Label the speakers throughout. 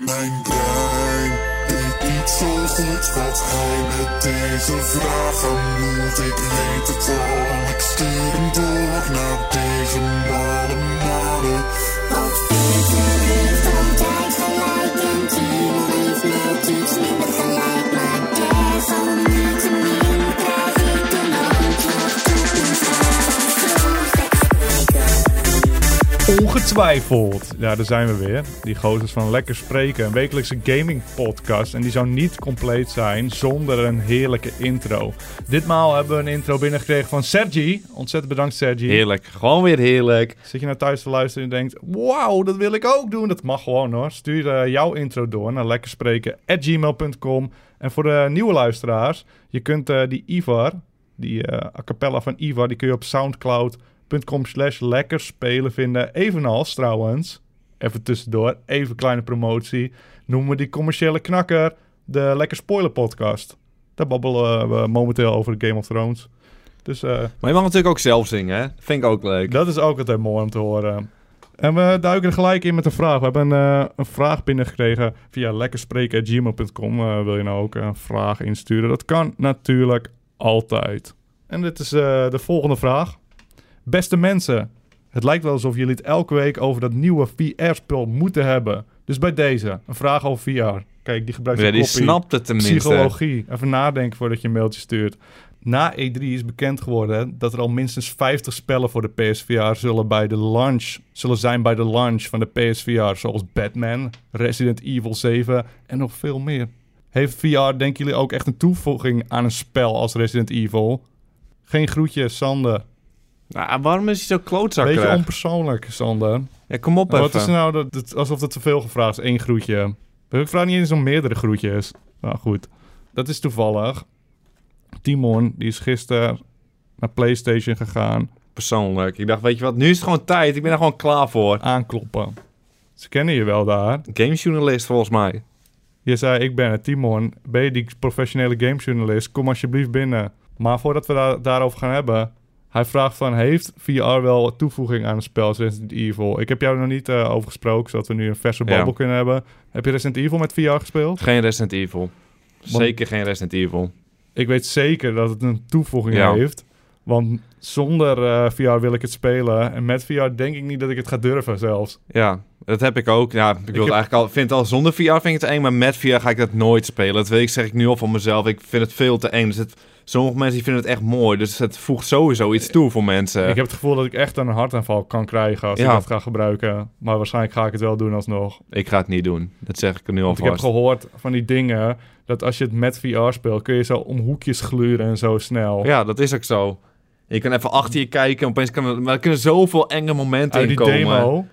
Speaker 1: Mijn brein weet niet zo goed wat hij met deze vraag aan moet. Ik weet het al, ik stuur hem door naar deze malle mannen.
Speaker 2: Wat Peter heeft altijd gelijk en Timo heeft net iets minder gelijk. Maar desalniettemin krijg ik een antwoord op mijn vraag. Zo
Speaker 3: Ongetwijfeld. Ja, daar zijn we weer. Die gozers van Lekker Spreken, een wekelijkse gaming podcast. En die zou niet compleet zijn zonder een heerlijke intro. Ditmaal hebben we een intro binnengekregen van Sergi. Ontzettend bedankt, Sergi.
Speaker 4: Heerlijk. Gewoon weer heerlijk.
Speaker 3: Zit je naar thuis te luisteren en je denkt: Wauw, dat wil ik ook doen. Dat mag gewoon hoor. Stuur eh, jouw intro door naar lekkerspreken.gmail.com. En voor de nieuwe luisteraars, je kunt eh, die Ivar, die eh a cappella van Ivar, die kun je op soundcloud.com slash lekkerspelen vinden. Evenals trouwens, even tussendoor, even kleine promotie, noemen we die commerciële knakker de Lekker Spoiler Podcast. Daar babbelen we momenteel over Game of Thrones. Dus eh,
Speaker 4: Maar je mag natuurlijk ook zelf zingen, hè? Vind ik ook leuk.
Speaker 3: dat is ook altijd mooi om te horen. En we duiken er gelijk in met een vraag. We hebben eh, een vraag binnengekregen via lekkerspreken.gmail.com. Eh, wil je nou ook een vraag insturen? Dat kan natuurlijk altijd. En dit is eh, de volgende vraag. Beste mensen, het lijkt wel alsof jullie het elke week over dat nieuwe VR-spel moeten hebben. Dus bij deze, een vraag over VR. Kijk, die gebruikt
Speaker 4: Ja,
Speaker 3: een
Speaker 4: die
Speaker 3: kopie.
Speaker 4: snapt het tenminste.
Speaker 3: Psychologie. Even nadenken voordat je een mailtje stuurt. Na E3 is bekend geworden dat er al minstens 50 spellen voor de PSVR zullen, bij de launch, zullen zijn bij de launch van de PSVR. Zoals Batman, Resident Evil 7 en nog veel meer. Heeft VR, denken jullie, ook echt een toevoeging aan een spel als Resident Evil? Geen groetjes, Sander.
Speaker 4: Nou, waarom is hij zo klootzakkerig?
Speaker 3: Beetje onpersoonlijk, Sander.
Speaker 4: Ja, kom op
Speaker 3: Wat
Speaker 4: even.
Speaker 3: is nou dat, dat- alsof dat te veel gevraagd is? Eén groetje. Ik vraag niet eens om meerdere groetjes. Nou goed, dat is toevallig. Timon, die is gisteren naar PlayStation gegaan.
Speaker 4: Persoonlijk. Ik dacht, weet je wat, nu is het gewoon tijd. Ik ben er gewoon klaar voor.
Speaker 3: Aankloppen. Ze kennen je wel daar.
Speaker 4: Gamejournalist, volgens mij.
Speaker 3: Je zei, ik ben het. Timon, ben je die professionele gamejournalist? Kom alsjeblieft binnen. Maar voordat we daar, daarover gaan hebben... Hij vraagt van, heeft VR wel toevoeging aan het spel als Resident Evil? Ik heb jou er nog niet eh, over gesproken, zodat we nu een verse
Speaker 4: Ja.
Speaker 3: babbel kunnen hebben. Heb je Resident Evil met VR gespeeld?
Speaker 4: Geen Resident Evil. Zeker geen Resident Evil.
Speaker 3: ik weet zeker dat het een toevoeging
Speaker 4: Ja.
Speaker 3: heeft. Want zonder eh, VR wil ik het spelen. En met VR denk ik niet dat ik het ga durven zelfs.
Speaker 4: Ja, dat heb ik ook. Ja, ik, wil het
Speaker 3: heb-
Speaker 4: eigenlijk al, vind het al zonder VR vind ik het eng, maar met VR ga ik dat nooit spelen. Dat weet ik, zeg ik nu al van mezelf. Ik vind het veel te eng. Dus het, sommige mensen die vinden het echt mooi. Dus het voegt sowieso iets toe voor mensen.
Speaker 3: Ik heb het gevoel dat ik echt een hartaanval kan krijgen als ik
Speaker 4: Eh. Ja.
Speaker 3: dat ga gebruiken. Maar waarschijnlijk ga ik het wel doen alsnog.
Speaker 4: Ik ga het niet doen. Dat zeg ik er nu
Speaker 3: Want ik heb
Speaker 4: alvast.
Speaker 3: gehoord van die dingen dat als je het met VR speelt, kun je zo om hoekjes gluren en zo snel.
Speaker 4: Ja, dat is ook zo. Je kan even achter je kijken. Opeens kan er, maar er kunnen zoveel enge momenten
Speaker 3: Uit
Speaker 4: in
Speaker 3: die
Speaker 4: komen.
Speaker 3: demo,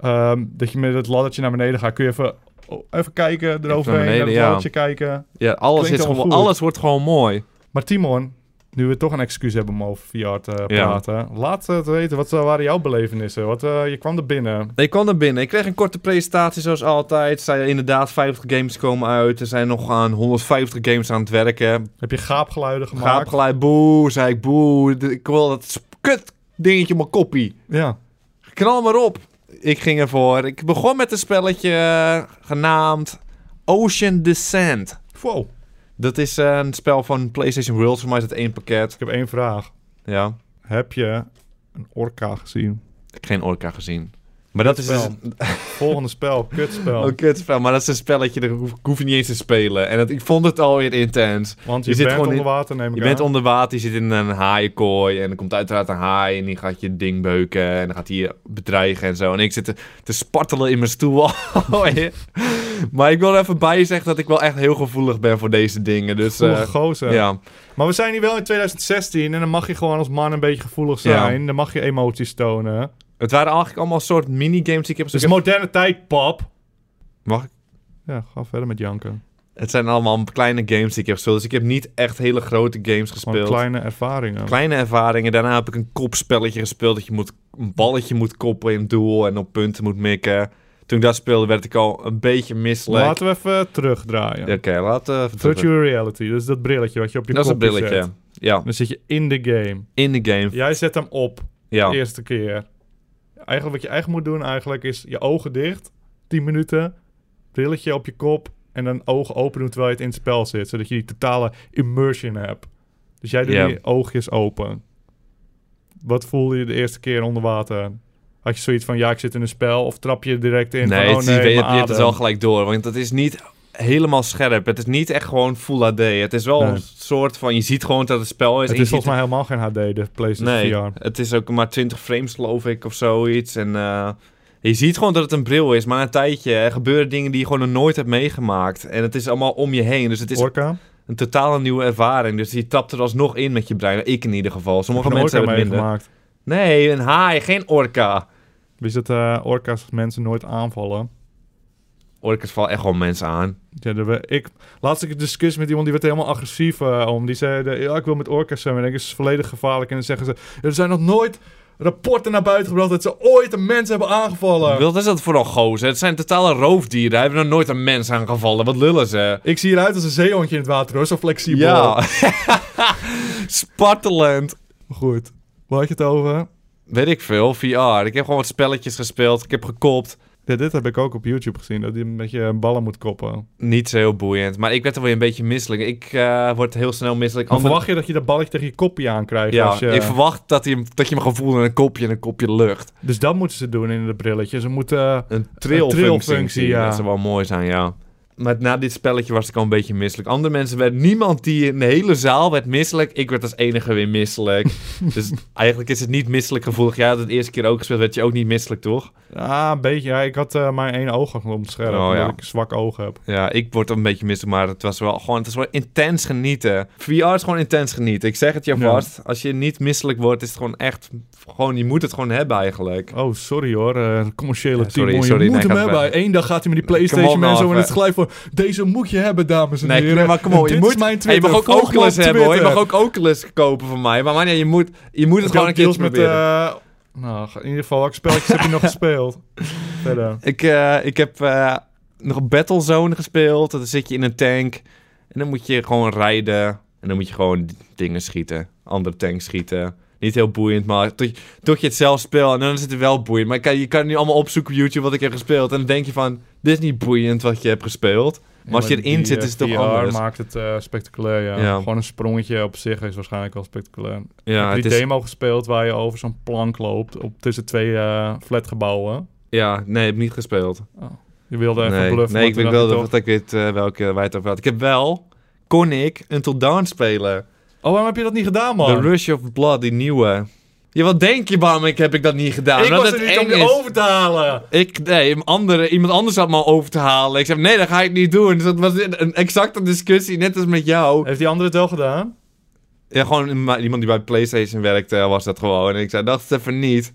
Speaker 3: ehm, dat je met het laddertje naar beneden gaat, kun je even, oh, even kijken eroverheen, naar,
Speaker 4: beneden,
Speaker 3: het
Speaker 4: ja.
Speaker 3: laddertje kijken.
Speaker 4: Ja, alles,
Speaker 3: Klinkt
Speaker 4: is
Speaker 3: allemaal
Speaker 4: gewoon,
Speaker 3: goed.
Speaker 4: alles wordt gewoon mooi.
Speaker 3: Maar Timon, nu we toch een excuus hebben om over VR te eh,
Speaker 4: Ja.
Speaker 3: praten, laat het weten. Wat eh, waren jouw belevenissen? Wat, eh, je kwam er binnen.
Speaker 4: Ik kwam er binnen. Ik kreeg een korte presentatie zoals altijd. Er zijn inderdaad 50 games komen uit. Er zijn nog aan 150 games aan het werken.
Speaker 3: Heb je gaapgeluiden gemaakt?
Speaker 4: Gaap gelijk boe, zei ik boe. D- Ik wil dat sp- kut dingetje op mijn koppie.
Speaker 3: Ja.
Speaker 4: Knal maar op. Ik ging ervoor. Ik begon met een spelletje eh, genaamd Ocean Descent.
Speaker 3: Wow.
Speaker 4: Dat is eh, een spel van PlayStation World. Voor mij is het één pakket.
Speaker 3: Ik heb één vraag.
Speaker 4: Ja,
Speaker 3: Heb je een orka gezien?
Speaker 4: ik heb geen orka gezien. Maar dat is dus
Speaker 3: Spel. Volgende spel, kutspel.
Speaker 4: een kutspel. Maar dat is een spelletje, daar hoef, ik hoef je niet eens te spelen. En dat, ik vond het alweer intens.
Speaker 3: Want je,
Speaker 4: je zit
Speaker 3: bent
Speaker 4: gewoon
Speaker 3: onder
Speaker 4: in-
Speaker 3: water, neem ik
Speaker 4: Je
Speaker 3: aan.
Speaker 4: bent onder water, je zit in een haaienkooi en er komt uiteraard een haai en die gaat je ding beuken en dan gaat hij je bedreigen en zo. En ik zit te, te spartelen in mijn stoel. maar ik wil er even bij zeggen dat ik wel echt heel gevoelig ben voor deze dingen. Dus eh,
Speaker 3: Gevoelige gozer.
Speaker 4: ja,
Speaker 3: Maar we zijn hier wel in 2016 en dan mag je gewoon als man een beetje gevoelig
Speaker 4: Ja.
Speaker 3: zijn. Dan mag je emoties tonen.
Speaker 4: het waren eigenlijk allemaal soort minigames die ik heb.
Speaker 3: Dus
Speaker 4: ik heb-
Speaker 3: moderne tijd, pap.
Speaker 4: Mag ik?
Speaker 3: Ja, ga verder met janken.
Speaker 4: Het zijn allemaal kleine games die ik heb gespeeld. Dus ik heb niet echt hele grote games
Speaker 3: Gewoon
Speaker 4: gespeeld.
Speaker 3: kleine ervaringen.
Speaker 4: kleine ervaringen. Daarna heb ik een kopspelletje gespeeld dat je moet, een balletje moet koppelen in het doel en op punten moet mikken. Toen ik dat speelde werd ik al een beetje misselijk.
Speaker 3: Laten we even terugdraaien.
Speaker 4: Oké, laten we even terug-
Speaker 3: Virtual reality, dus dat brilletje wat je op je
Speaker 4: Dat is een
Speaker 3: kopje
Speaker 4: brilletje.
Speaker 3: zet.
Speaker 4: Ja,
Speaker 3: Dan zit je in de game.
Speaker 4: in de game.
Speaker 3: Jij zet hem op,
Speaker 4: Ja.
Speaker 3: de eerste keer. Eigenlijk wat je eigenlijk moet doen eigenlijk is je ogen dicht, 10 minuten. brilletje op je kop en een oog open doen terwijl je het in het spel zit. Zodat je die totale immersion hebt. Dus jij doet
Speaker 4: Ja.
Speaker 3: die oogjes open. Wat voelde je de eerste keer onder water? Had je zoiets van, ja, ik zit in een spel? Of trap je er direct in
Speaker 4: nee,
Speaker 3: van, oh
Speaker 4: het is- je,
Speaker 3: nee,
Speaker 4: weet- je
Speaker 3: mijn
Speaker 4: hebt het
Speaker 3: adem.
Speaker 4: wel gelijk door. Want het is niet helemaal scherp. Het is niet echt gewoon full HD. Het is wel
Speaker 3: Nee.
Speaker 4: een soort van... Je ziet gewoon dat het spel is.
Speaker 3: Het
Speaker 4: en
Speaker 3: is
Speaker 4: je ziet
Speaker 3: volgens mij helemaal geen HD, de PlayStation
Speaker 4: Nee,
Speaker 3: VR.
Speaker 4: het is ook maar 20 frames geloof ik of zoiets. En eh, je ziet gewoon dat het een bril is. Maar na een tijdje er gebeuren dingen die je gewoon nog nooit hebt meegemaakt. En het is allemaal om je heen. Dus het is
Speaker 3: Orca?
Speaker 4: een totale nieuwe ervaring. Dus je tapt er alsnog in met je brein. Ik in ieder geval. Sommige
Speaker 3: Heb je een
Speaker 4: mensen
Speaker 3: orca
Speaker 4: hebben het minder.
Speaker 3: meegemaakt.
Speaker 4: Nee, een haai, geen orka.
Speaker 3: Wist dat eh, orka's mensen nooit aanvallen?
Speaker 4: Orka's vallen echt gewoon mensen aan.
Speaker 3: Ja, er we- ik, laatst ik een discussie met iemand die werd er helemaal agressief eh, om. Die zei, ja, ik wil met orka's zwemmen. En ik, is volledig gevaarlijk. En dan zeggen ze, er zijn nog nooit rapporten naar buiten gebracht dat ze ooit een mens hebben aangevallen.
Speaker 4: Wat is dat voor een gozer? Het zijn totale roofdieren. Daar hebben nog nooit een mens aangevallen. Wat lullen ze?
Speaker 3: Ik zie eruit als een zeehondje in het water, hoor. Zo flexibel.
Speaker 4: Ja. Spartelend.
Speaker 3: Goed. Waar had je het over?
Speaker 4: Weet ik veel, VR. Ik heb gewoon wat spelletjes gespeeld. Ik heb gekopt.
Speaker 3: Ja, dit heb ik ook op YouTube gezien. Dat je met je ballen moet koppen.
Speaker 4: Niet zo heel boeiend. Maar ik werd er weer een beetje misselijk. Ik eh, word heel snel misselijk.
Speaker 3: Dan
Speaker 4: Ander-
Speaker 3: verwacht je dat je dat balletje tegen je kopje aankrijgt.
Speaker 4: Ja,
Speaker 3: als je...
Speaker 4: ik verwacht dat, hij, hem- dat je hem gevoel in een kopje en een kopje lucht.
Speaker 3: Dus dat moeten ze doen in de brilletjes. Ze moeten... eh,
Speaker 4: Een trillfunctie.
Speaker 3: trillfunctie, ja.
Speaker 4: Dat zou wel mooi zijn, ja. Maar na dit spelletje was ik al een beetje misselijk. Andere mensen werden... Niemand die in de hele zaal werd misselijk. Ik werd als enige weer misselijk. dus eigenlijk is het niet misselijk gevoelig. Jij had het de eerste keer ook gespeeld. Werd je ook niet misselijk, toch?
Speaker 3: Ah, een beetje. Ja, ik had eh, mijn ene oog al om het scherm.
Speaker 4: Oh,
Speaker 3: omdat
Speaker 4: ja.
Speaker 3: ik zwak oog heb.
Speaker 4: Ja, ik word een beetje misselijk, maar het was wel gewoon, het is wel intens genieten. VR is gewoon intens genieten. Ik zeg het je
Speaker 3: Ja.
Speaker 4: vast. Als je niet misselijk wordt, is het gewoon echt, gewoon, je moet het gewoon hebben eigenlijk.
Speaker 3: Oh, sorry hoor. eh, commerciële
Speaker 4: Ja, sorry,
Speaker 3: team. hoor.
Speaker 4: sorry,
Speaker 3: je
Speaker 4: nee,
Speaker 3: moet hem
Speaker 4: gaat
Speaker 3: hebben.
Speaker 4: weg.
Speaker 3: Eén dag gaat hij met die
Speaker 4: Come
Speaker 3: Playstation
Speaker 4: on,
Speaker 3: en zo
Speaker 4: Alf,
Speaker 3: in het
Speaker 4: hè.
Speaker 3: glijf voor. Deze moet je hebben, dames en
Speaker 4: Nee,
Speaker 3: heren.
Speaker 4: nee, maar kom op.
Speaker 3: Dit
Speaker 4: Je
Speaker 3: is
Speaker 4: moet,
Speaker 3: mijn
Speaker 4: hey, je
Speaker 3: Twitter.
Speaker 4: mag ook
Speaker 3: Volg me
Speaker 4: Oculus
Speaker 3: op
Speaker 4: hebben hoor. Je
Speaker 3: Twitter.
Speaker 4: mag ook Oculus kopen van mij. Maar man, ja, je moet, je moet het
Speaker 3: Ik
Speaker 4: gewoon een
Speaker 3: heb
Speaker 4: keer
Speaker 3: deals
Speaker 4: proberen.
Speaker 3: eh, nou, in ieder geval, welke spelletjes heb je nog gespeeld? Verder.
Speaker 4: Ik, eh, ik heb eh, nog Battlezone gespeeld. Dan zit je in een tank. En dan moet je gewoon rijden. En dan moet je gewoon d- dingen schieten. Andere tanks schieten. Niet heel boeiend, maar tot je, tot je het zelf speelt. En dan is het wel boeiend. Maar kan, je kan nu allemaal opzoeken op YouTube wat ik heb gespeeld. En dan denk je van, dit is niet boeiend wat je hebt gespeeld. Maar als je
Speaker 3: Ja,
Speaker 4: erin
Speaker 3: die,
Speaker 4: zit,
Speaker 3: eh,
Speaker 4: is het toch
Speaker 3: VR
Speaker 4: anders.
Speaker 3: maakt het eh, spectaculair, ja.
Speaker 4: Ja.
Speaker 3: Gewoon een sprongetje op zich is waarschijnlijk al spectaculair.
Speaker 4: Ja,
Speaker 3: ik heb
Speaker 4: het
Speaker 3: die
Speaker 4: is,
Speaker 3: demo gespeeld waar je over zo'n plank loopt op, tussen twee eh, flatgebouwen.
Speaker 4: ja, nee, ik heb niet gespeeld.
Speaker 3: Je wilde even
Speaker 4: Nee,
Speaker 3: bluffen.
Speaker 4: nee ik,
Speaker 3: maar
Speaker 4: ik
Speaker 3: toen dacht
Speaker 4: wilde
Speaker 3: toch-
Speaker 4: dat ik weet eh, welke wij het over hadden. Ik heb wel, kon ik, Until Dawn spelen.
Speaker 3: Oh, waarom heb je dat niet gedaan, man?
Speaker 4: The Rush of Blood, die nieuwe. Ja, wat denk je, waarom ik, heb ik dat niet gedaan?
Speaker 3: ik
Speaker 4: Omdat
Speaker 3: was er
Speaker 4: het
Speaker 3: niet om
Speaker 4: eng
Speaker 3: je
Speaker 4: is.
Speaker 3: over te halen.
Speaker 4: Ik, nee, een andere, iemand anders had me al over te halen. Ik zei, nee, dat ga ik niet doen. Dus dat was een een exacte discussie, net als met jou.
Speaker 3: Heeft die andere het wel gedaan?
Speaker 4: Ja, gewoon een ma- iemand die bij PlayStation werkte, was dat gewoon. En ik zei, dat is even niet.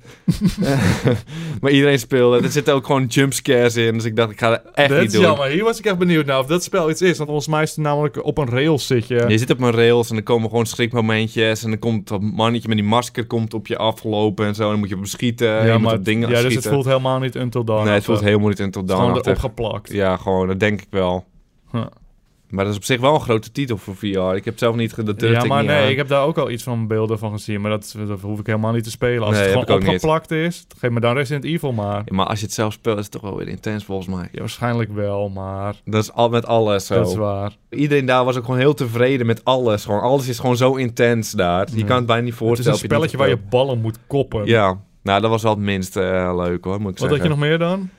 Speaker 4: maar iedereen speelde. Er zitten ook gewoon jumpscares in. Dus ik dacht, ik ga dat echt
Speaker 3: dat
Speaker 4: niet
Speaker 3: is
Speaker 4: doen.
Speaker 3: jammer. Hier was ik echt benieuwd naar of dat spel iets is. Want volgens mij is het namelijk op een rails zit je.
Speaker 4: Je zit op een rails en er komen gewoon schrikmomentjes. En dan komt dat mannetje met die masker komt op je afgelopen en zo. En dan moet je op hem schieten. Ja, je moet op dingen
Speaker 3: ja dus
Speaker 4: schieten.
Speaker 3: het voelt helemaal niet Until Dawn.
Speaker 4: Nee, het voelt
Speaker 3: Het
Speaker 4: helemaal niet Until
Speaker 3: is gewoon
Speaker 4: Dawn.
Speaker 3: erop geplakt.
Speaker 4: Ja, gewoon, dat denk ik wel.
Speaker 3: Huh.
Speaker 4: Maar dat is op zich wel een grote titel voor VR. Ik heb zelf niet gedurfd.
Speaker 3: ja, maar
Speaker 4: niet
Speaker 3: nee,
Speaker 4: aan.
Speaker 3: ik heb daar ook al iets van beelden van gezien. Maar dat, dat hoef ik helemaal niet te spelen. Als
Speaker 4: Nee,
Speaker 3: het
Speaker 4: heb
Speaker 3: gewoon
Speaker 4: ik ook niet.
Speaker 3: opgeplakt is, geef me dan Resident Evil maar.
Speaker 4: Ja, maar als je het zelf speelt, is het toch wel weer intens volgens mij.
Speaker 3: Ja, waarschijnlijk wel, maar
Speaker 4: Dat is al met alles zo.
Speaker 3: dat is waar.
Speaker 4: Iedereen daar was ook gewoon heel tevreden met alles. Gewoon, alles is gewoon zo intens daar. Je
Speaker 3: Ja.
Speaker 4: kan het bijna niet
Speaker 3: Het is
Speaker 4: voorstellen.
Speaker 3: een
Speaker 4: of
Speaker 3: spelletje
Speaker 4: het
Speaker 3: waar je
Speaker 4: niet
Speaker 3: ballen moet koppen.
Speaker 4: hebt gespeeld. Ja, nou dat was wel het minst eh, leuk hoor, moet ik
Speaker 3: Wat had
Speaker 4: zeggen.
Speaker 3: je nog meer dan?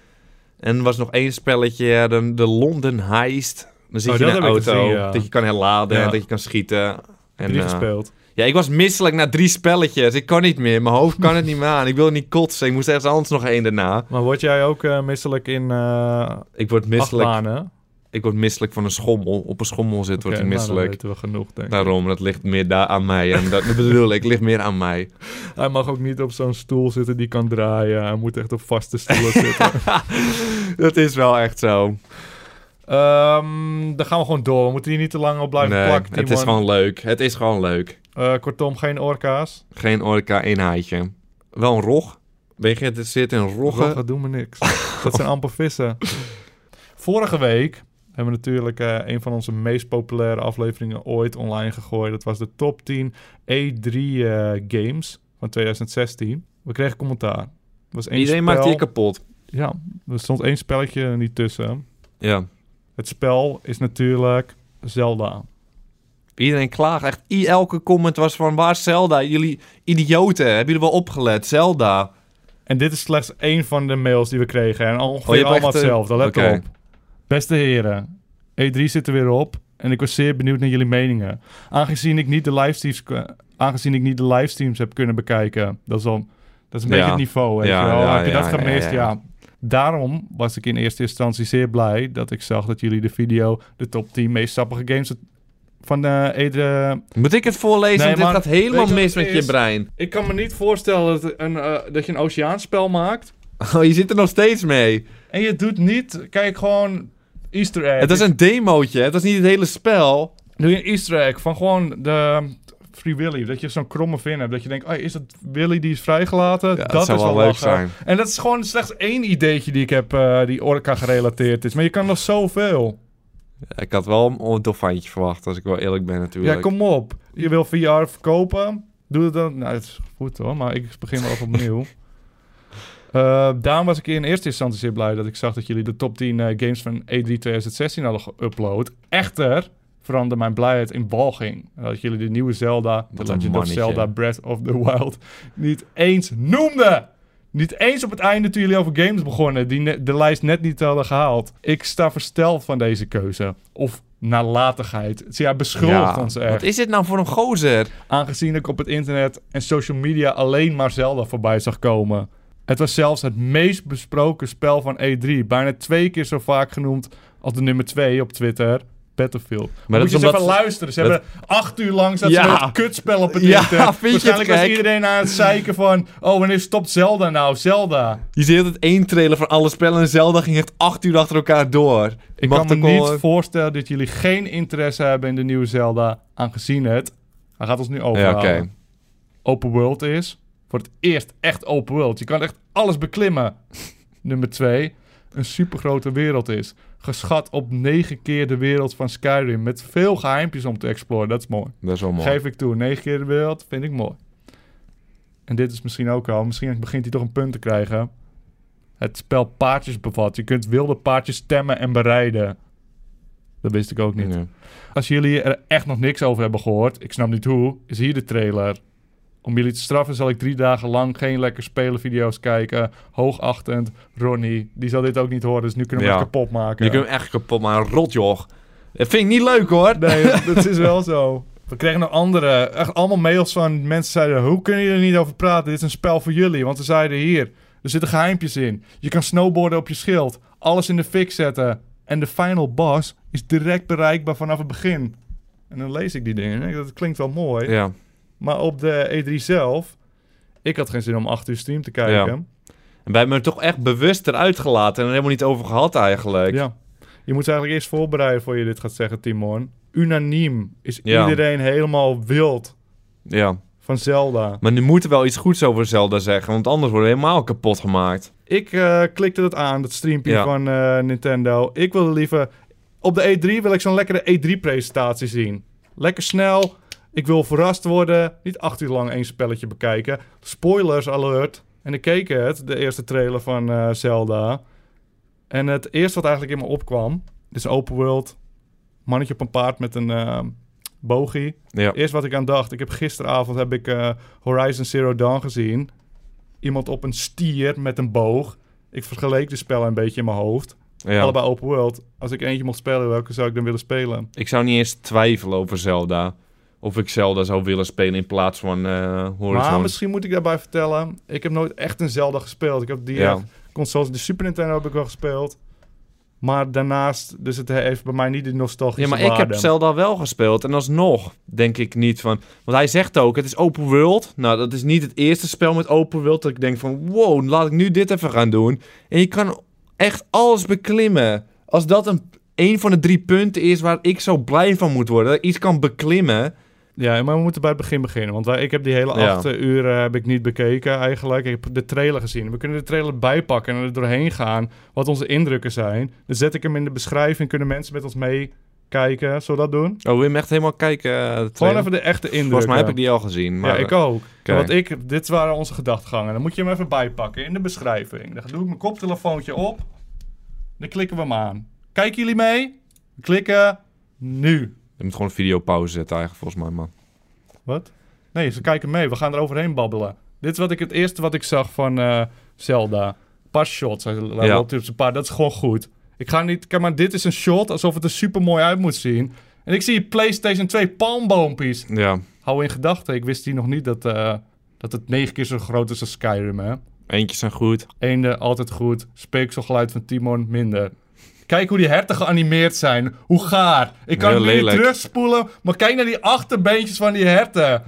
Speaker 4: En er was nog één spelletje, eh, de, de London Heist. Dan zit
Speaker 3: Oh,
Speaker 4: je in
Speaker 3: dat
Speaker 4: een
Speaker 3: heb ik
Speaker 4: auto,
Speaker 3: gezien, ja.
Speaker 4: dat je kan herladen,
Speaker 3: Ja.
Speaker 4: en dat je kan schieten. En,
Speaker 3: Heb je die
Speaker 4: eh,
Speaker 3: gespeeld?
Speaker 4: Ja, ik was misselijk na drie spelletjes. Ik kan niet meer. Mijn hoofd kan het niet meer aan. Ik wil niet kotsen. Ik moest ergens anders nog één daarna.
Speaker 3: Maar word jij ook eh, misselijk in eh
Speaker 4: Ik word misselijk,
Speaker 3: achtbanen?
Speaker 4: ik word misselijk van een schommel. Op een schommel zit word
Speaker 3: Oké, nou,
Speaker 4: ik
Speaker 3: dan
Speaker 4: misselijk. Nou.
Speaker 3: weten we genoeg, denk ik.
Speaker 4: Daarom, dat ligt meer daar aan mij. En dat, dat bedoel ik, ligt meer aan mij.
Speaker 3: Hij mag ook niet op zo'n stoel zitten die kan draaien. Hij moet echt op vaste stoelen zitten.
Speaker 4: Dat is wel echt zo.
Speaker 3: Ehm, dan gaan we gewoon door. We moeten hier niet te lang op blijven
Speaker 4: Nee,
Speaker 3: plakken,
Speaker 4: het is
Speaker 3: Timon.
Speaker 4: gewoon leuk. Het is gewoon leuk.
Speaker 3: Eh, kortom, geen orka's.
Speaker 4: Geen orka, één haaitje. Wel een rog. Ben je geïnteresseerd in roggen?
Speaker 3: Roggen doen me niks. Dat zijn amper vissen. Vorige week hebben we natuurlijk eh, een van onze meest populaire afleveringen ooit online gegooid. Dat was de top 10 E3 eh, games van 2016. We kregen commentaar. Er Was één
Speaker 4: Iedereen
Speaker 3: spel-
Speaker 4: maakt hier kapot.
Speaker 3: Ja, er stond één spelletje niet tussen.
Speaker 4: Ja.
Speaker 3: Het spel is natuurlijk Zelda.
Speaker 4: Iedereen klaagt echt. I- Elke comment was van waar is Zelda? Jullie idioten, hebben jullie wel opgelet? Zelda.
Speaker 3: En dit is slechts één van de mails die we kregen. En ongeveer
Speaker 4: Oh, je hebt
Speaker 3: allemaal
Speaker 4: echt, eh,
Speaker 3: hetzelfde. Let
Speaker 4: oké.
Speaker 3: op. Beste heren, E3 zit er weer op. En ik was zeer benieuwd naar jullie meningen. Aangezien ik niet de livestreams, k- aangezien ik niet de livestreams heb kunnen bekijken. Dat is, al, dat is een
Speaker 4: Ja.
Speaker 3: beetje het niveau. Weet
Speaker 4: Ja,
Speaker 3: je wel.
Speaker 4: ja,
Speaker 3: heb je
Speaker 4: ja,
Speaker 3: dat
Speaker 4: ja,
Speaker 3: gemist?
Speaker 4: ja,
Speaker 3: Ja,
Speaker 4: ja.
Speaker 3: Daarom was ik in eerste instantie zeer blij dat ik zag dat jullie de video, de top 10 meest sappige games van eh, E de E3,
Speaker 4: Moet ik het voorlezen?
Speaker 3: Nee,
Speaker 4: Want dit
Speaker 3: maar-
Speaker 4: gaat helemaal
Speaker 3: weet je wat
Speaker 4: mis
Speaker 3: het
Speaker 4: met je
Speaker 3: is?
Speaker 4: brein.
Speaker 3: Ik kan me niet voorstellen dat, een, eh, dat je een oceaanspel maakt.
Speaker 4: Oh, je zit er nog steeds mee.
Speaker 3: En je doet niet. Kijk gewoon Easter egg.
Speaker 4: Het is een demootje, het is niet het hele spel.
Speaker 3: Doe je een Easter egg van gewoon de Free Willy. Dat je zo'n kromme vin hebt. Dat je denkt, oh, is dat Willy die is vrijgelaten?
Speaker 4: Ja, dat zou
Speaker 3: is
Speaker 4: wel leuk
Speaker 3: lachen.
Speaker 4: zijn.
Speaker 3: En dat is gewoon slechts één ideetje die ik heb eh, die orka gerelateerd is. Maar je kan nog zoveel.
Speaker 4: Ik had wel een- een dolfijntje verwacht, als ik wel eerlijk ben natuurlijk.
Speaker 3: Ja, kom op. Je wil VR verkopen. Doe het dan. Nou, het is goed hoor, maar ik begin wel even opnieuw. Eh, daarom was ik in eerste instantie zeer blij dat ik zag dat jullie de top 10 eh, games van E3 2016 hadden geüpload. Echter veranderde mijn blijheid in walging. Dat jullie de nieuwe Zelda, de
Speaker 4: Wat een
Speaker 3: Legend of
Speaker 4: mannetje.
Speaker 3: Zelda Breath of the Wild, niet eens noemden. Niet eens op het einde toen jullie over games begonnen, die ne- de lijst net niet hadden gehaald. Ik sta versteld van deze keuze. Of nalatigheid. Ze- Ja, beschuldigt ons echt.
Speaker 4: Wat is dit nou voor een gozer?
Speaker 3: Aangezien ik op het internet en social media alleen maar Zelda voorbij zag komen. Het was zelfs het meest besproken spel van E3. Bijna twee keer zo vaak genoemd als de nummer twee op Twitter. Battlefield.
Speaker 4: dat
Speaker 3: Maar Moet
Speaker 4: is
Speaker 3: je eens
Speaker 4: omdat
Speaker 3: even
Speaker 4: ze-
Speaker 3: luisteren. Ze
Speaker 4: dat-
Speaker 3: hebben acht uur lang zat
Speaker 4: Ja.
Speaker 3: ze met het kutspel op het
Speaker 4: Ja,
Speaker 3: internet.
Speaker 4: vind je het
Speaker 3: Waarschijnlijk was
Speaker 4: gek?
Speaker 3: iedereen aan het zeiken van... Oh, wanneer stopt Zelda nou? Zelda.
Speaker 4: Je ziet altijd één trailer van alle spellen en Zelda ging echt acht uur achter elkaar door.
Speaker 3: Ik
Speaker 4: Mag eh,
Speaker 3: kan
Speaker 4: ook
Speaker 3: me
Speaker 4: wel-
Speaker 3: niet voorstellen dat jullie geen interesse hebben in de nieuwe Zelda. Aangezien het... Hij gaat ons nu
Speaker 4: Ja,
Speaker 3: overhalen.
Speaker 4: oké.
Speaker 3: open world is. Voor het eerst echt open world. Je kan echt alles beklimmen. Nummer twee, een supergrote wereld is. Geschat op negen keer de wereld van Skyrim. Met veel geheimpjes om te exploren. Dat is mooi.
Speaker 4: Dat is wel mooi.
Speaker 3: Geef ik toe. Negen keer de wereld vind ik mooi. En dit is misschien ook al. Misschien begint hij toch een punt te krijgen. Het spel paardjes bevat. Je kunt wilde paardjes stemmen en bereiden. Dat wist ik ook niet.
Speaker 4: Ja.
Speaker 3: Als jullie er echt nog niks over hebben gehoord, ik snap niet hoe, is hier de trailer. Om jullie te straffen zal ik drie dagen lang geen lekker spelen video's kijken. Hoogachtend, Ronnie, die zal dit ook niet horen, dus nu kunnen we
Speaker 4: Ja.
Speaker 3: het kapot maken.
Speaker 4: Je kunt hem echt kapot maken. Rot, joh. Dat vind ik niet leuk, hoor.
Speaker 3: Nee, dat- dat is wel zo. We kregen nog andere, echt allemaal mails van mensen zeiden, hoe kunnen jullie er niet over praten? Dit is een spel voor jullie, want ze zeiden hier, er zitten geheimpjes in. Je kan snowboarden op je schild, alles in de fik zetten. En de final boss is direct bereikbaar vanaf het begin. En dan lees ik die dingen en denk ik, dat klinkt wel mooi.
Speaker 4: Ja.
Speaker 3: Maar op de E3 zelf, ik had geen zin om 8 uur stream te kijken.
Speaker 4: En wij hebben hem toch echt bewust eruit gelaten en er helemaal niet over gehad, eigenlijk.
Speaker 3: Ja. Je moet ze eigenlijk eerst voorbereiden voor je dit gaat zeggen, Timon. Unaniem is
Speaker 4: Ja.
Speaker 3: iedereen helemaal wild
Speaker 4: ja.
Speaker 3: van Zelda.
Speaker 4: Maar nu moeten we wel iets goeds over Zelda zeggen, want anders worden we helemaal kapot gemaakt.
Speaker 3: Ik eh, klikte dat aan, dat streampje
Speaker 4: Ja.
Speaker 3: van eh, Nintendo. Ik wilde liever... Op de E3 wil ik zo'n lekkere E3-presentatie zien. Lekker snel. Ik wil verrast worden. Niet acht uur lang één spelletje bekijken. Spoilers alert. En ik keek het, de eerste trailer van eh, Zelda. En het eerste wat eigenlijk in me opkwam... Dit is open world. Mannetje op een paard met een eh, bogie.
Speaker 4: Ja.
Speaker 3: Eerst wat ik aan dacht. Ik heb gisteravond heb ik eh, Horizon Zero Dawn gezien. Iemand op een stier met een boog. Ik vergeleek de spellen een beetje in mijn hoofd.
Speaker 4: ja.
Speaker 3: Allebei open world. Als ik eentje mocht spelen, welke zou ik dan willen spelen?
Speaker 4: Ik zou niet eens twijfelen over Zelda. Of ik Zelda zou willen spelen in plaats van eh Horizon.
Speaker 3: Maar misschien moet ik daarbij vertellen. Ik heb nooit echt een Zelda gespeeld. Ik heb die
Speaker 4: Ja.
Speaker 3: eh, consoles, de Super Nintendo heb ik wel gespeeld. Maar daarnaast, dus het heeft bij mij niet de nostalgische
Speaker 4: Ja, maar ik heb
Speaker 3: waarde.
Speaker 4: Zelda wel gespeeld. En alsnog denk ik niet van... Want hij zegt ook, het is open world. Nou, dat is niet het eerste spel met open world... dat ik denk van, wow, laat ik nu dit even gaan doen. En je kan echt alles beklimmen. Als dat een, een van de drie punten is waar ik zo blij van moet worden... dat ik iets kan beklimmen...
Speaker 3: Ja, maar we moeten bij het begin beginnen. Want wij, ik heb die hele
Speaker 4: Ja.
Speaker 3: acht eh, uur eh, heb ik niet bekeken eigenlijk. Ik heb de trailer gezien. We kunnen de trailer bijpakken en er doorheen gaan. Wat onze indrukken zijn. Dan zet ik hem in de beschrijving. Kunnen mensen met ons meekijken? Zullen we dat doen?
Speaker 4: Oh, wil je hem echt helemaal kijken? eh, de
Speaker 3: Gewoon
Speaker 4: trailer?
Speaker 3: even de echte indrukken.
Speaker 4: Volgens mij heb ik die al gezien. Maar,
Speaker 3: ja, ik ook.
Speaker 4: Oké.
Speaker 3: Want ik, dit waren onze gedachtegangen. Dan moet je hem even bijpakken in de beschrijving. Dan doe ik mijn koptelefoontje op. Dan klikken we hem aan. Kijken jullie mee? Klikken nu.
Speaker 4: Je moet gewoon een video pauze zetten eigenlijk, volgens mij, man.
Speaker 3: Wat? Nee, ze kijken mee. We gaan er overheen babbelen. Dit is wat ik, het eerste wat ik zag van eh, Zelda. Paar shots. Hij laat
Speaker 4: Ja.
Speaker 3: wel tips een paar. Dat is gewoon goed. Ik ga niet... Kijk maar, dit is een shot alsof het er super mooi uit moet zien. En ik zie PlayStation 2 palmboompjes.
Speaker 4: Ja.
Speaker 3: Hou in gedachten, ik wist hier nog niet dat, eh, dat het negen keer zo groot is als Skyrim, hè?
Speaker 4: Eentjes zijn goed.
Speaker 3: Eenden, altijd goed. Speekselgeluid van Timon, minder. Kijk hoe die herten geanimeerd zijn. Hoe gaar. Ik kan
Speaker 4: Heel
Speaker 3: het nu niet
Speaker 4: lelijk.
Speaker 3: terugspoelen, maar kijk naar die achterbeentjes van die herten.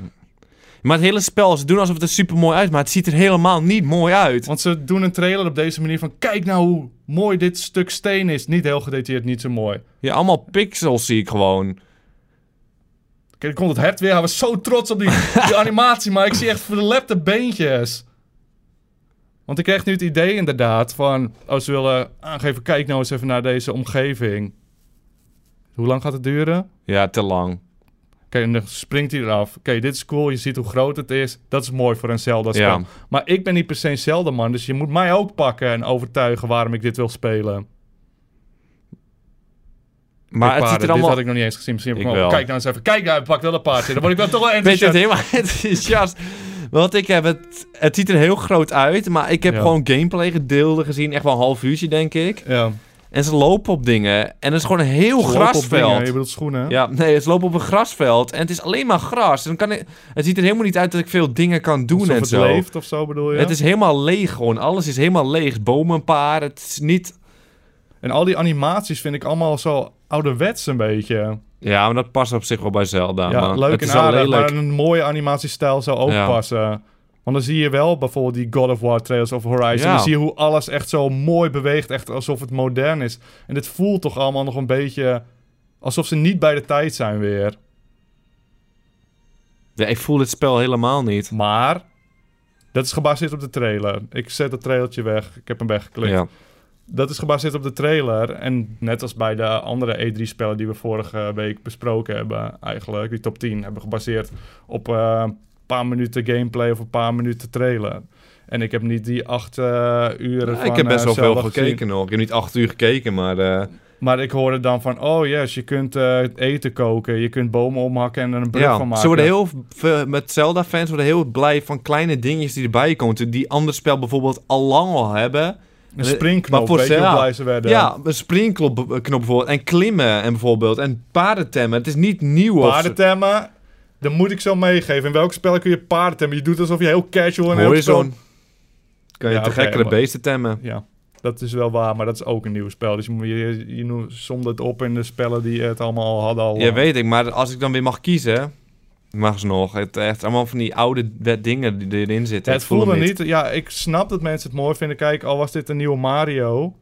Speaker 4: Maar het hele spel, ze doen alsof het er super mooi uit, maar het ziet er helemaal niet mooi uit.
Speaker 3: Want ze doen een trailer op deze manier van... Kijk nou hoe mooi dit stuk steen is. Niet heel gedetailleerd, niet zo mooi.
Speaker 4: Ja, allemaal pixels zie ik gewoon.
Speaker 3: Kijk, er komt het hert weer. Hij was zo trots op die, die animatie, maar ik zie echt verlepte beentjes. Want ik kreeg nu het idee inderdaad van... Oh, ze willen aangeven, kijk nou eens even naar deze omgeving. Hoe lang gaat het duren?
Speaker 4: Ja, te lang.
Speaker 3: Oké, en dan springt hij eraf. Oké, dit is cool. Je ziet hoe groot het is. Dat is mooi voor een Zelda-spel.
Speaker 4: Ja.
Speaker 3: Maar ik ben niet per se een Zelda-man. Dus je moet mij ook pakken en overtuigen waarom ik dit wil spelen.
Speaker 4: Maar het ziet er allemaal...
Speaker 3: Dit had ik nog niet eens gezien. Misschien heb ik
Speaker 4: Ik
Speaker 3: hem al-
Speaker 4: wel.
Speaker 3: Kijk nou eens even. Kijk nou, hij pakt wel een paard in. Dan word ik wel toch wel
Speaker 4: Weet je, het
Speaker 3: enthousiast.
Speaker 4: helemaal enthousiast. Want ik heb het... Het ziet er heel groot uit, maar ik heb
Speaker 3: Ja.
Speaker 4: gewoon gameplay gedeelden gezien. Echt wel een half uurtje, denk ik.
Speaker 3: Ja.
Speaker 4: En ze lopen op dingen. En het is gewoon een heel
Speaker 3: Lopen op dingen,
Speaker 4: grasveld.
Speaker 3: Je bedoelt schoenen.
Speaker 4: Ja, nee, ze lopen op een grasveld. En het is alleen maar gras. En dan kan ik, het ziet er helemaal niet uit dat ik veel dingen kan doen
Speaker 3: Alsof
Speaker 4: en
Speaker 3: het
Speaker 4: zo.
Speaker 3: leeft of zo bedoel je?
Speaker 4: Het is helemaal leeg gewoon. Alles is helemaal leeg. Bomen een paar. Het is niet...
Speaker 3: En al die animaties vind ik allemaal zo ouderwets een beetje.
Speaker 4: Ja, maar dat past op zich wel bij Zelda.
Speaker 3: Ja,
Speaker 4: man.
Speaker 3: leuk
Speaker 4: het
Speaker 3: en
Speaker 4: is wel
Speaker 3: aardig, maar
Speaker 4: lelijk.
Speaker 3: een mooie animatiestijl zou ook
Speaker 4: Ja.
Speaker 3: passen. Want dan zie je wel bijvoorbeeld die God of War trailers of Horizon.
Speaker 4: Ja.
Speaker 3: Dan zie je hoe alles echt zo mooi beweegt, echt alsof het modern is. En dit voelt toch allemaal nog een beetje alsof ze niet bij de tijd zijn weer.
Speaker 4: Ja, ik voel dit spel helemaal niet.
Speaker 3: Maar dat is gebaseerd op de trailer. Ik zet dat trailertje weg. Ik heb hem weggeklikt.
Speaker 4: Ja.
Speaker 3: Dat is gebaseerd op de trailer. En net als bij de andere E3-spellen die we vorige week besproken hebben, eigenlijk, die top 10, hebben gebaseerd op eh, een paar minuten gameplay of een paar minuten trailer. En ik heb niet die acht eh, uren.
Speaker 4: ik
Speaker 3: van,
Speaker 4: heb best
Speaker 3: eh,
Speaker 4: wel veel
Speaker 3: Zelda gezien.
Speaker 4: gekeken nog. Ik heb niet acht uur gekeken, maar... eh,
Speaker 3: Maar ik hoorde dan van: oh yes, je kunt eh, eten koken, je kunt bomen omhakken en er een brug van maken.
Speaker 4: ze worden heel veel, met Zelda-fans worden heel blij van kleine dingetjes die erbij komen. Die ander spel bijvoorbeeld al lang al hebben.
Speaker 3: Een springknop,
Speaker 4: Maar voor
Speaker 3: weet je hoe
Speaker 4: Zelda-
Speaker 3: blij ze werden.
Speaker 4: Ja, een springknop eh, knop bijvoorbeeld. En klimmen en bijvoorbeeld. En paarden temmen. Het is niet nieuw. of zo.
Speaker 3: Paardentemmen, dat moet ik zo meegeven. In welk spel kun je paarden temmen? Je doet alsof je heel casual en heel spel...
Speaker 4: Horizon. Kan je
Speaker 3: Ja,
Speaker 4: te
Speaker 3: oké,
Speaker 4: gekkere
Speaker 3: maar-
Speaker 4: beesten temmen.
Speaker 3: Ja, dat is wel waar, maar dat is ook een nieuw spel. Dus je, moet- je, je noemt- somde het op in de spellen die het allemaal al hadden. Al, eh,
Speaker 4: Ja, weet ik. Maar als ik dan weer mag kiezen... Mag ze nog. Het echt allemaal van die oude wet dingen die erin zitten.
Speaker 3: het
Speaker 4: Ik voel hem
Speaker 3: voelde niet. Ja, ik snap dat mensen het mooi vinden. Kijk, al was dit een nieuwe Mario,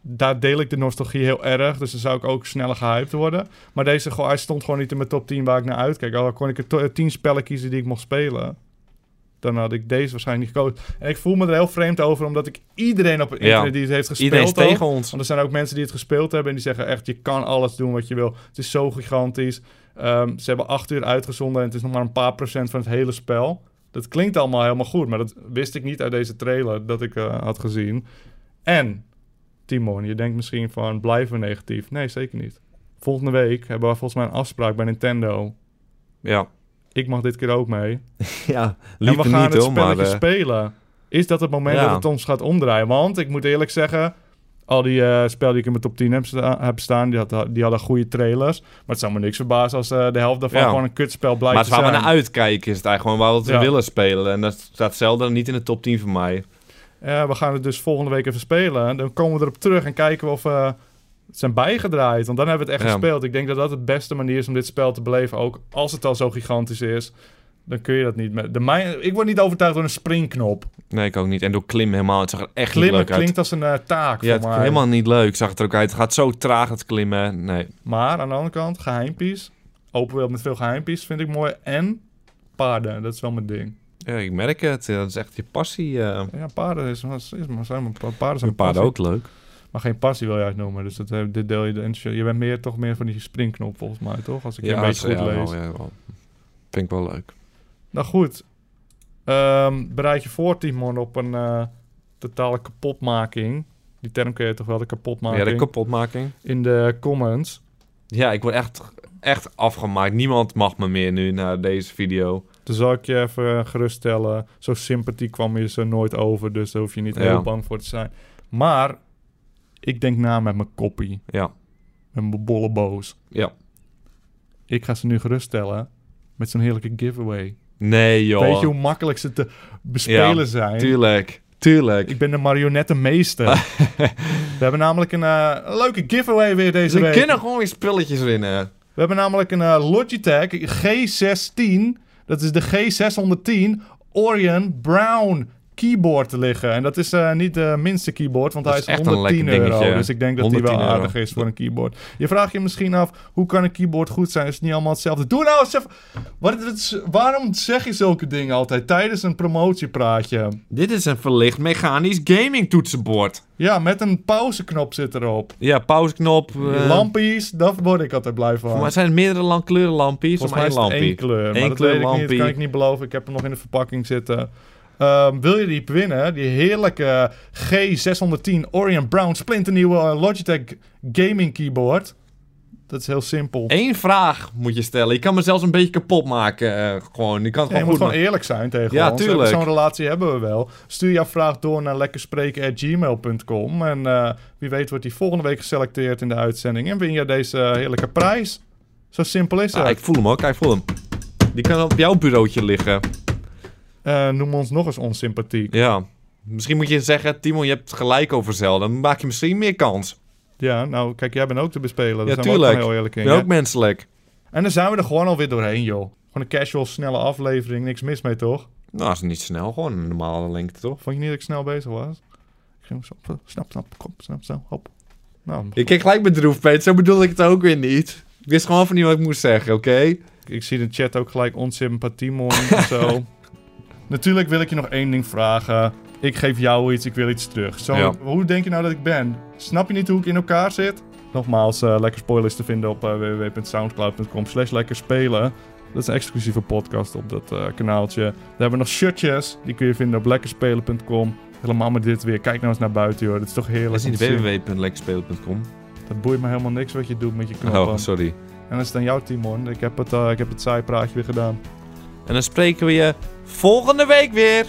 Speaker 3: daar deel ik de nostalgie heel erg. Dus dan zou ik ook sneller gehyped worden. Maar deze gewoon- hij stond gewoon niet in mijn top 10 waar ik naar uitkijk. Al kon ik er to- eh, 10 spellen kiezen die ik mocht spelen. Dan had ik deze waarschijnlijk niet gekozen. En ik voel me er heel vreemd over, omdat ik iedereen op het
Speaker 4: Ja.
Speaker 3: internet die het heeft gespeeld
Speaker 4: Iedereen is
Speaker 3: ook-
Speaker 4: tegen ons.
Speaker 3: Want er zijn ook mensen die het gespeeld hebben en die zeggen echt, je kan alles doen wat je wil. Het is zo gigantisch. Ehm, ze hebben acht uur uitgezonden en het is nog maar een paar procent van het hele spel. Dat klinkt allemaal helemaal goed, maar dat wist ik niet uit deze trailer dat ik eh, had gezien. En, Timon, je denkt misschien van, blijven we negatief? Nee, zeker niet. Volgende week hebben we volgens mij een afspraak bij Nintendo.
Speaker 4: Ja.
Speaker 3: Ik mag dit keer ook mee.
Speaker 4: Ja,
Speaker 3: en Nou, we
Speaker 4: liever
Speaker 3: gaan
Speaker 4: niet
Speaker 3: het
Speaker 4: hoor, maar...
Speaker 3: spelletje
Speaker 4: eh,
Speaker 3: spelen. Is dat het moment
Speaker 4: Ja.
Speaker 3: dat het ons gaat omdraaien? Want ik moet eerlijk zeggen, al die eh spellen die ik in mijn top 10 heb, sta- heb staan, die, had, die hadden goede trailers. Maar het zou me niks verbazen als eh, de helft daarvan
Speaker 4: Ja.
Speaker 3: gewoon een kutspel blijft
Speaker 4: maar
Speaker 3: te
Speaker 4: het nou waar we
Speaker 3: zijn.
Speaker 4: naar uitkijken is het eigenlijk gewoon waar we
Speaker 3: Ja.
Speaker 4: het willen spelen. En dat staat Zelda niet in de top 10 van mij.
Speaker 3: Eh, we gaan het dus volgende week even spelen. En dan komen we erop terug en kijken we of eh, het zijn bijgedraaid. Want dan hebben we het echt
Speaker 4: Ja.
Speaker 3: gespeeld. Ik denk dat dat de beste manier is om dit spel te beleven. Ook als het al zo gigantisch is, dan kun je dat niet met. De mijn, ik word niet overtuigd door een springknop.
Speaker 4: Nee, ik ook niet. En door klimmen helemaal. Het zag er echt
Speaker 3: Klimmen
Speaker 4: niet leuk uit.
Speaker 3: klinkt als een eh, taak
Speaker 4: ja, het
Speaker 3: voor mij.
Speaker 4: helemaal niet leuk zag het er ook uit. Het gaat zo traag, het klimmen. Nee.
Speaker 3: Maar aan de andere kant, geheimpies. Open wereld met veel geheimpies vind ik mooi. En paarden, dat is wel mijn ding.
Speaker 4: Ja, ik merk het. Ja, Dat is echt je passie. eh.
Speaker 3: Ja, paarden is, is, is maar zijn maar pa- paarden zijn
Speaker 4: Een paar
Speaker 3: passie.
Speaker 4: ook leuk.
Speaker 3: Maar geen passie wil je uitnoemen. Dus dat, eh, dit deel je de enthousi- Je bent meer, toch meer van die springknop volgens mij, toch? Als ik je een beetje
Speaker 4: ja,
Speaker 3: goed lees.
Speaker 4: wel, ja, wel. Vind ik wel leuk.
Speaker 3: Nou goed. Ehm, bereid je voor, Timon, op een eh, totale kapotmaking. Die term kun je toch wel de kapotmaking
Speaker 4: Ja, de kapotmaking.
Speaker 3: in de comments.
Speaker 4: Ja, ik word echt, echt afgemaakt. Niemand mag me meer nu na deze video.
Speaker 3: Dus zal ik je even eh, geruststellen. Zo sympathie kwam je ze nooit over. Dus daar hoef je niet
Speaker 4: Ja.
Speaker 3: heel bang voor te zijn. Maar ik denk na met mijn koppie.
Speaker 4: Ja,
Speaker 3: Met mijn bolle boos.
Speaker 4: ja.
Speaker 3: Ik ga ze nu geruststellen. Met zo'n heerlijke giveaway.
Speaker 4: Nee, joh.
Speaker 3: Weet je hoe makkelijk ze te bespelen
Speaker 4: Ja,
Speaker 3: zijn?
Speaker 4: Tuurlijk, tuurlijk.
Speaker 3: Ik ben de marionettenmeester. We hebben namelijk een eh, leuke giveaway weer deze
Speaker 4: Ze
Speaker 3: week.
Speaker 4: kunnen gewoon weer spulletjes winnen.
Speaker 3: We hebben namelijk een eh, Logitech G16. Dat is de G610 Orion Brown keyboard te liggen. En dat is eh, niet de minste keyboard, want
Speaker 4: Dat
Speaker 3: hij
Speaker 4: is
Speaker 3: is,
Speaker 4: echt een
Speaker 3: 110
Speaker 4: lekker
Speaker 3: euro.
Speaker 4: dingetje.
Speaker 3: Dus ik denk dat die wel
Speaker 4: 110 euro.
Speaker 3: aardig is voor een keyboard. Je vraagt je misschien af, hoe kan een keyboard goed zijn? Is het niet allemaal hetzelfde? Doe nou eens even... Wat, wat is- waarom zeg je zulke dingen altijd tijdens een promotiepraatje?
Speaker 4: Dit is een verlicht mechanisch gaming toetsenbord.
Speaker 3: Ja, met een pauzeknop zit erop.
Speaker 4: Ja, pauzeknop. eh,
Speaker 3: Lampies, daar word ik altijd blij van.
Speaker 4: Maar het zijn het meerdere lang kleurenlampjes of
Speaker 3: Volgens mij
Speaker 4: één
Speaker 3: is het
Speaker 4: lampje?
Speaker 3: één kleur. Maar
Speaker 4: Eén
Speaker 3: dat
Speaker 4: kleur
Speaker 3: weet ik niet, dat
Speaker 4: lampie.
Speaker 3: kan ik niet beloven. Ik heb hem nog in de verpakking zitten. Ehm, wil je die winnen? Die heerlijke G610 Orion Brown splinternieuwe eh, Logitech gaming keyboard. Dat is heel simpel.
Speaker 4: Eén vraag moet je stellen. Je kan me zelfs een beetje kapot maken. eh, gewoon. Je kan het
Speaker 3: Ja, je moet
Speaker 4: gewoon
Speaker 3: gewoon
Speaker 4: goed maken.
Speaker 3: eerlijk zijn tegen
Speaker 4: Ja,
Speaker 3: ons.
Speaker 4: tuurlijk.
Speaker 3: Zo'n relatie hebben we wel. Stuur jouw vraag door naar lekkerspreken.gmail.com. En eh, wie weet wordt die volgende week geselecteerd in de uitzending. En win je deze heerlijke prijs. Zo simpel is het.
Speaker 4: Ah, ik voel hem ook. Ik voel hem. Die kan op jouw bureautje liggen.
Speaker 3: Eh, noem ons nog eens onsympathiek.
Speaker 4: Ja. Misschien moet je zeggen, Timon, je hebt gelijk over Zelda. Dan maak je misschien meer kans.
Speaker 3: Ja, nou kijk, jij bent ook te bespelen. dus
Speaker 4: ja,
Speaker 3: Daar zijn we ook
Speaker 4: tuurlijk.
Speaker 3: gewoon heel eerlijk in.
Speaker 4: Ik ben
Speaker 3: hè?
Speaker 4: ook menselijk.
Speaker 3: En dan zijn we er gewoon alweer doorheen, joh. Gewoon een casual, snelle aflevering. Niks mis mee, toch?
Speaker 4: Nou, dat is niet snel. Gewoon een normale lengte, toch?
Speaker 3: Vond je niet dat ik snel bezig was? Ik ging zo, snap, snap, kom, snap, snap, hop. Nou,
Speaker 4: Ik keek gelijk bedroefd, Peet. Zo bedoel ik het ook weer niet. Ik wist gewoon van niet wat ik moest zeggen, oké?
Speaker 3: ik zie in de chat ook gelijk onsympathie morgen en zo. Natuurlijk wil ik je nog één ding vragen. Ik geef jou iets, ik wil iets terug. Zo,
Speaker 4: Ja.
Speaker 3: hoe denk je nou dat ik ben? Snap je niet hoe ik in elkaar zit? Nogmaals, eh, Lekker Spoiler is te vinden op eh, www.soundcloud.com slash lekker spelen. Dat is een exclusieve podcast op dat eh, kanaaltje. Daar hebben we nog shirtjes. Die kun je vinden op lekkerspelen.com. Helemaal met dit weer. Kijk nou eens naar buiten, joh. Dit is toch heerlijk.
Speaker 4: Dat is niet
Speaker 3: om te zien.
Speaker 4: www.lekkerspelen.com.
Speaker 3: Dat boeit me helemaal niks wat je doet met je knoppen.
Speaker 4: Oh, sorry.
Speaker 3: en dat is dan jouw Timon. Ik heb het, eh, ik heb het saai praatje weer gedaan.
Speaker 4: En dan spreken we je volgende week weer.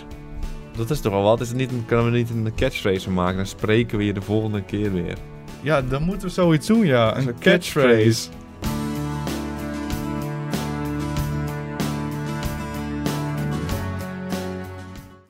Speaker 4: Dat is toch wel wat? Is het niet, kunnen we niet een catchphrase van maken? Dan spreken we je de volgende keer weer.
Speaker 3: Ja, dan moeten we zoiets doen, ja. Een catchphrase.